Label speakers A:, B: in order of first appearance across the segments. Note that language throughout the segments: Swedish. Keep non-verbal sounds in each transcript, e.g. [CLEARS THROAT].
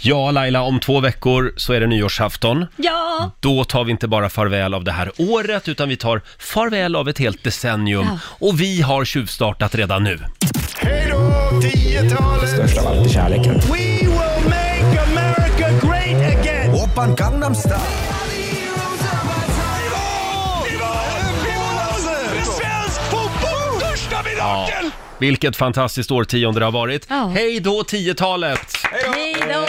A: Ja, Laila, om två veckor så är det nyårsafton.
B: Ja!
A: Då tar vi inte bara farväl av det här året, utan vi tar farväl av ett helt decennium. Och vi har tjuvstartat redan nu.
C: Hej då, 10-talet! Störst av allt är kärleken. We will make America great again! Oppan Gangnam Style.
A: Ja. Vilket fantastiskt årtionde det har varit.
B: Ja.
A: Hej då 10-talet!
B: Hej då!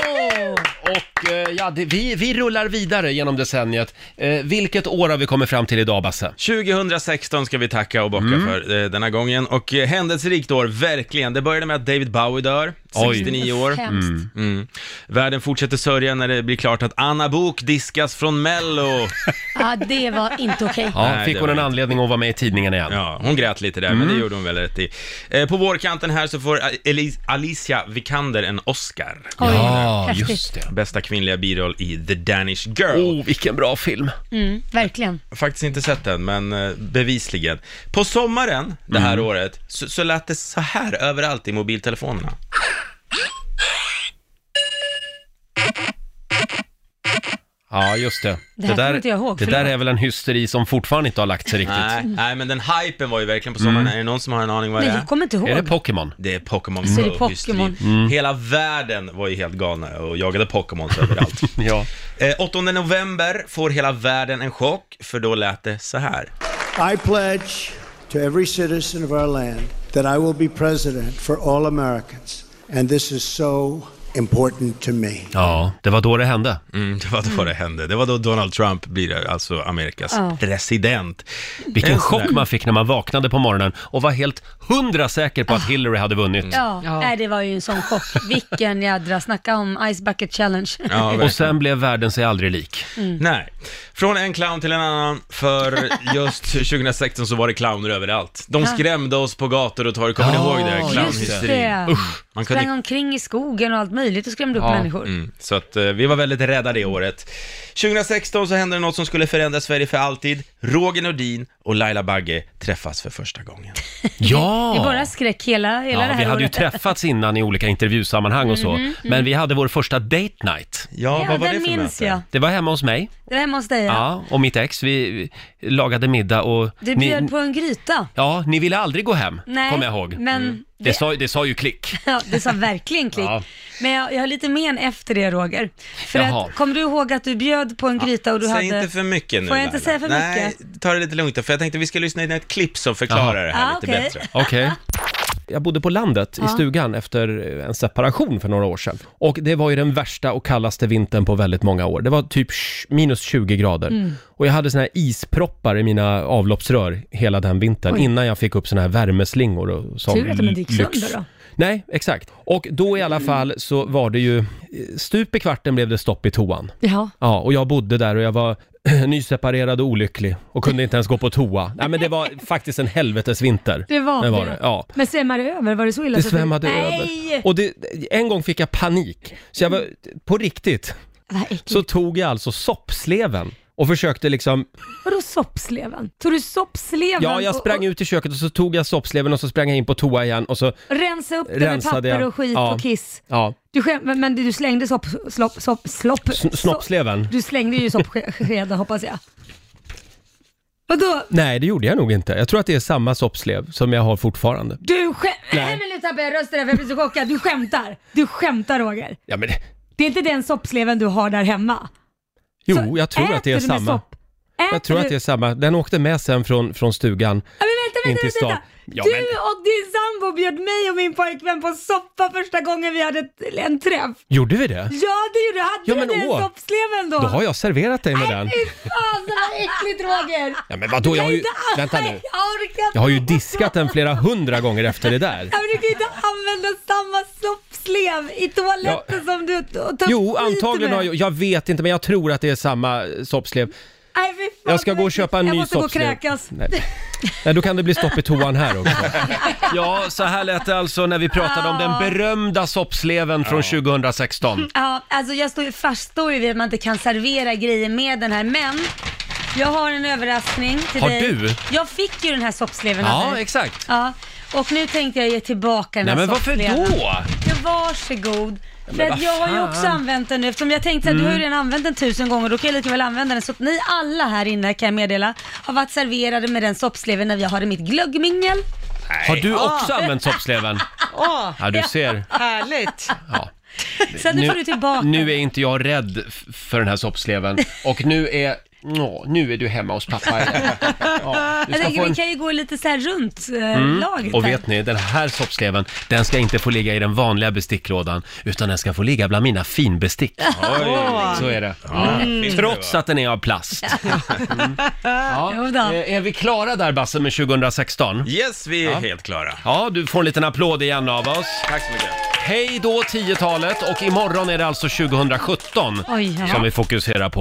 A: Och eh, ja, det, vi, vi rullar vidare genom decenniet. Eh, vilket år har vi kommit fram till idag, Basse?
D: 2016 ska vi tacka och bocka
A: Mm.
D: för eh, denna gången. Och eh, händelserikt år, verkligen. Det började med att David Bowie dör,
A: Oj.
D: 69 år.
B: Hemskt.
D: Mm. Mm. Världen fortsätter sörja när det blir klart att Anna Bok diskas
A: [LAUGHS]
D: från Mello.
B: Ja, det var inte okej.
A: Ja,
D: Nej,
A: fick
D: det
A: hon
D: var
A: en
D: inte.
A: anledning att vara med i tidningen igen?
D: Ja, hon grät lite där, men
A: Mm.
D: det gjorde hon väl rätt i. Eh, på vårkanten här så får Elis- Alicia Vikander en Oscar.
B: Oj,
A: Ja,
B: häftigt.
A: Ah, just det.
D: Bästa kvinnliga biroll i The Danish Girl.
A: Oh, vilken bra film.
B: Mm, verkligen.
D: Faktiskt inte sett den, men eh, bevisligen. På sommaren det här
A: Mm.
D: året så, så lät det så här överallt i mobiltelefonerna.
A: Ja, just det.
B: Det här kommer inte jag ihåg,
A: det där
B: förlåt.
A: är väl en hysteri som fortfarande inte har lagt sig riktigt.
D: Nej, nej, men den hypen var ju verkligen på sommaren. Är det någon som har en aning vad
B: Nej,
D: det är?
B: jag kommer inte ihåg.
A: Är det Pokémon?
D: Det är Pokémon
B: Så är det
D: Go, just
B: Pokémon.
D: Hela världen var ju helt galna och jagade Pokémon överallt.
A: Ja.
D: eh, 8 november får hela världen en chock, för då lät det så här.
E: I pledge to every citizen of our land that I will be president for all Americans, and this is so important to me.
A: Ja, det var då det hände.
D: Mm, det var då det hände. Det var då Donald Trump blir alltså Amerikas
B: Ja.
D: president.
A: Vilken
D: En sån
A: chock
D: där-
A: man fick när man vaknade på morgonen och var helt hundra säker på att Hillary hade vunnit.
B: Ah. Ja, Nej, det var ju en sån chock. Vilken jädra, snacka om Ice Bucket Challenge.
D: Ja, verkligen.
A: Och sen blev världen sig aldrig lik.
D: Eh,
B: Mm.
D: Nej. Från en clown till en annan, för just 2016 så var det clowner överallt. De skrämde oss på gator och torg, kommer ni
A: Ja,
D: ihåg det?
B: Just
D: Clownhysterin.
B: det.
D: Man kunde
B: Sprang omkring i skogen och allt möjligt och skrämde upp
A: Ja.
B: människor.
D: Mm, så att eh, vi var väldigt rädda det året. 2016 så hände det något som skulle förändra Sverige för alltid. Roger Nordin och Laila Bagge träffas för första gången.
A: Ja!
B: Det är bara skräck hela, hela det
A: Ja,
B: här Mm-hmm,
A: vi hade ju
B: året.
A: träffats innan i olika intervjusammanhang och så, men vi hade vår första date night.
D: Ja,
B: Ja,
D: vad var
B: den
D: det för
B: minns
D: möte?
B: jag.
A: Det var hemma hos mig,
B: Det var hemma hos dig,
A: ja.
B: ja.
A: och mitt ex, vi vi lagade middag och...
B: Du
A: ni-
B: bjöd på en gryta.
A: Ja, ni ville aldrig gå hem,
B: Nej,
A: kommer jag ihåg.
B: men
A: Det,
B: det-
A: sa, det sa ju klick.
B: [LAUGHS] Ja, det sa verkligen klick.
A: Ja.
B: Men jag, jag har lite men efter det Roger. För
A: Jaha.
B: att, kommer du ihåg att du bjöd på en gryta och du hade...
D: Säg inte för mycket nu
B: Får jag inte
D: Laila.
B: säga för
D: Nej,
B: mycket?
D: ta det lite lugnt då, för jag tänkte vi ska lyssna in ett klipp som förklarar
A: Jaha.
D: det här
B: Ah,
D: lite
B: okej.
D: bättre.
A: Okej. Jag bodde på landet i
B: Ja.
A: stugan efter en separation för några år sedan. Och det var ju den värsta och kallaste vintern på väldigt många år. Det var typ sh- minus 20 grader.
B: Mm.
A: Och jag hade såna här isproppar i mina avloppsrör hela den vintern
B: Oj.
A: innan jag fick upp såna här värmeslingor och sån
B: Tur att de inte
A: Mm, lyx.
B: gick sönder då.
A: Nej, exakt. Och då i alla fall så var det ju, eh, stup i kvarten blev det stopp i toan.
B: Ja.
A: Ja, och jag bodde där och jag var [CLEARS THROAT] nyseparerad och olycklig och kunde inte ens gå på toa. Nej men det var faktiskt en helvetesvinter.
B: Det var
A: det. Var
B: det.
A: det. Ja.
B: Men svämmade det över? Var det så illa?
A: Det
B: så att du-
A: svämmade
B: Alltså, Nej!
A: över. Och det, en gång fick jag panik. Så jag var, på riktigt,
B: Vad äckligt.
A: så tog jag alltså soppsleven och försökte liksom,
B: Vadå soppsleven? Tog du soppsleven
A: ja jag sprang
B: och,
A: ut i köket och så tog jag soppsleven och så sprang jag in på toa igen och så,
B: och rensa upp det med
A: Rensade
B: papper
A: jag.
B: och skit
A: Ja.
B: och kiss?
A: ja,
B: Du skäm, men, men du slängde sopp... Slopp, sopp, slopp,
A: sn- snoppsleven.
B: sopp- Du slängde ju [LAUGHS] soppskeden hoppas jag. Vadå?
A: Nej det gjorde jag nog inte. Jag tror att det är samma soppslev som jag har fortfarande.
B: Du skämtar?
A: Nej.
B: Nej men nu tappade jag rösten där för jag blir så chockad. Du skämtar? Du skämtar Roger?
A: Ja men,
B: Det är inte den soppsleven du har där hemma?
A: jo
B: Så
A: jag tror
B: äter
A: att det är
B: du med
A: samma.
B: sopp? Äter
A: Jag tror
B: du?
A: att det är samma. Den åkte med sen från, från stugan.
B: Ja, men vänta,
A: in
B: vänta,
A: till
B: vänta.
A: stan.
B: vänta.
A: Ja,
B: du
A: men-
B: och din sambo bjöd mig och min pojkvän på soppa första gången vi hade ett, en träff.
A: Gjorde vi det?
B: Ja det gjorde du. Hade
A: Ja,
B: du
A: men
B: den
A: åh.
B: soppsleven då?
A: Då har jag serverat dig med den.
B: Fy fan det här är äckligt Roger.
A: Ja, men vadå, jag har ju...
B: Inte alls.
A: Vänta nu.
B: Jag orkar inte.
A: Jag har ju diskat den flera hundra gånger efter det där.
B: Ja, men du kan ju inte använda samma soppslev i toaletten som du och ta
A: Jo,
B: skit
A: antagligen
B: med.
A: har jag... Jag vet inte, men jag tror att det är samma soppslev.
B: Nej, fy fan,
A: Jag ska
B: vad
A: gå och
B: äckligt.
A: köpa en
B: jag
A: ny
B: måste gå och
A: soppslev.
B: kräkas.
A: Nej. Nej, då kan det bli stopp i toan här också. Ja, så här lät det alltså när vi pratade om den berömda soppsleven från 2016.
B: Ja, alltså jag står ju faststår ju vid att man inte kan servera grejer med den här, men jag har en överraskning till
A: Har
B: dig.
A: du?
B: Jag fick ju den här soppsleven av
A: Ja,
B: dig.
A: exakt.
B: Ja, och nu tänkte jag ge tillbaka den
A: Nej,
B: här
A: men varför
B: soppsleven.
A: då?
B: Ja, varsågod. För att jag har ju också använt den nu eftersom jag tänkte att du
A: Mm.
B: har ju redan använt den tusen gånger då kan jag lika väl använda den. Så att ni alla här inne kan jag meddela har varit serverade med den soppsleven när jag hade mitt glöggmingel.
A: Har du också använt soppsleven?
F: Åh,
A: Ja, du ser.
F: härligt.
A: Ja.
B: Så att nu, får du tillbaka.
A: nu är inte jag rädd f- för den här soppsleven. Och nu är... Ja, nu är du hemma hos pappa
B: [LAUGHS]
A: igen. Ja, du
B: jag
A: ska
B: tänker
A: få
B: vi
A: en...
B: kan ju gå lite så här runt eh, laget
A: Liksom Mm. Och
B: här.
A: vet ni, den här soppsleven, den ska inte få ligga i den vanliga besticklådan, utan den ska få ligga bland mina finbestick.
D: Oj.
A: Så är det.
D: Ja,
B: Mm.
D: fint det var.
A: Trots att den är av plast.
B: Jo
A: Ja.
B: då.
A: Eh, Är vi klara där Basse med 2016?
D: Yes, vi är helt klara.
A: Ja, du får en liten applåd igen av oss.
D: Tack så mycket.
A: Hej då 10-talet och imorgon är det alltså 2017
B: Oj, ja.
A: som vi fokuserar på.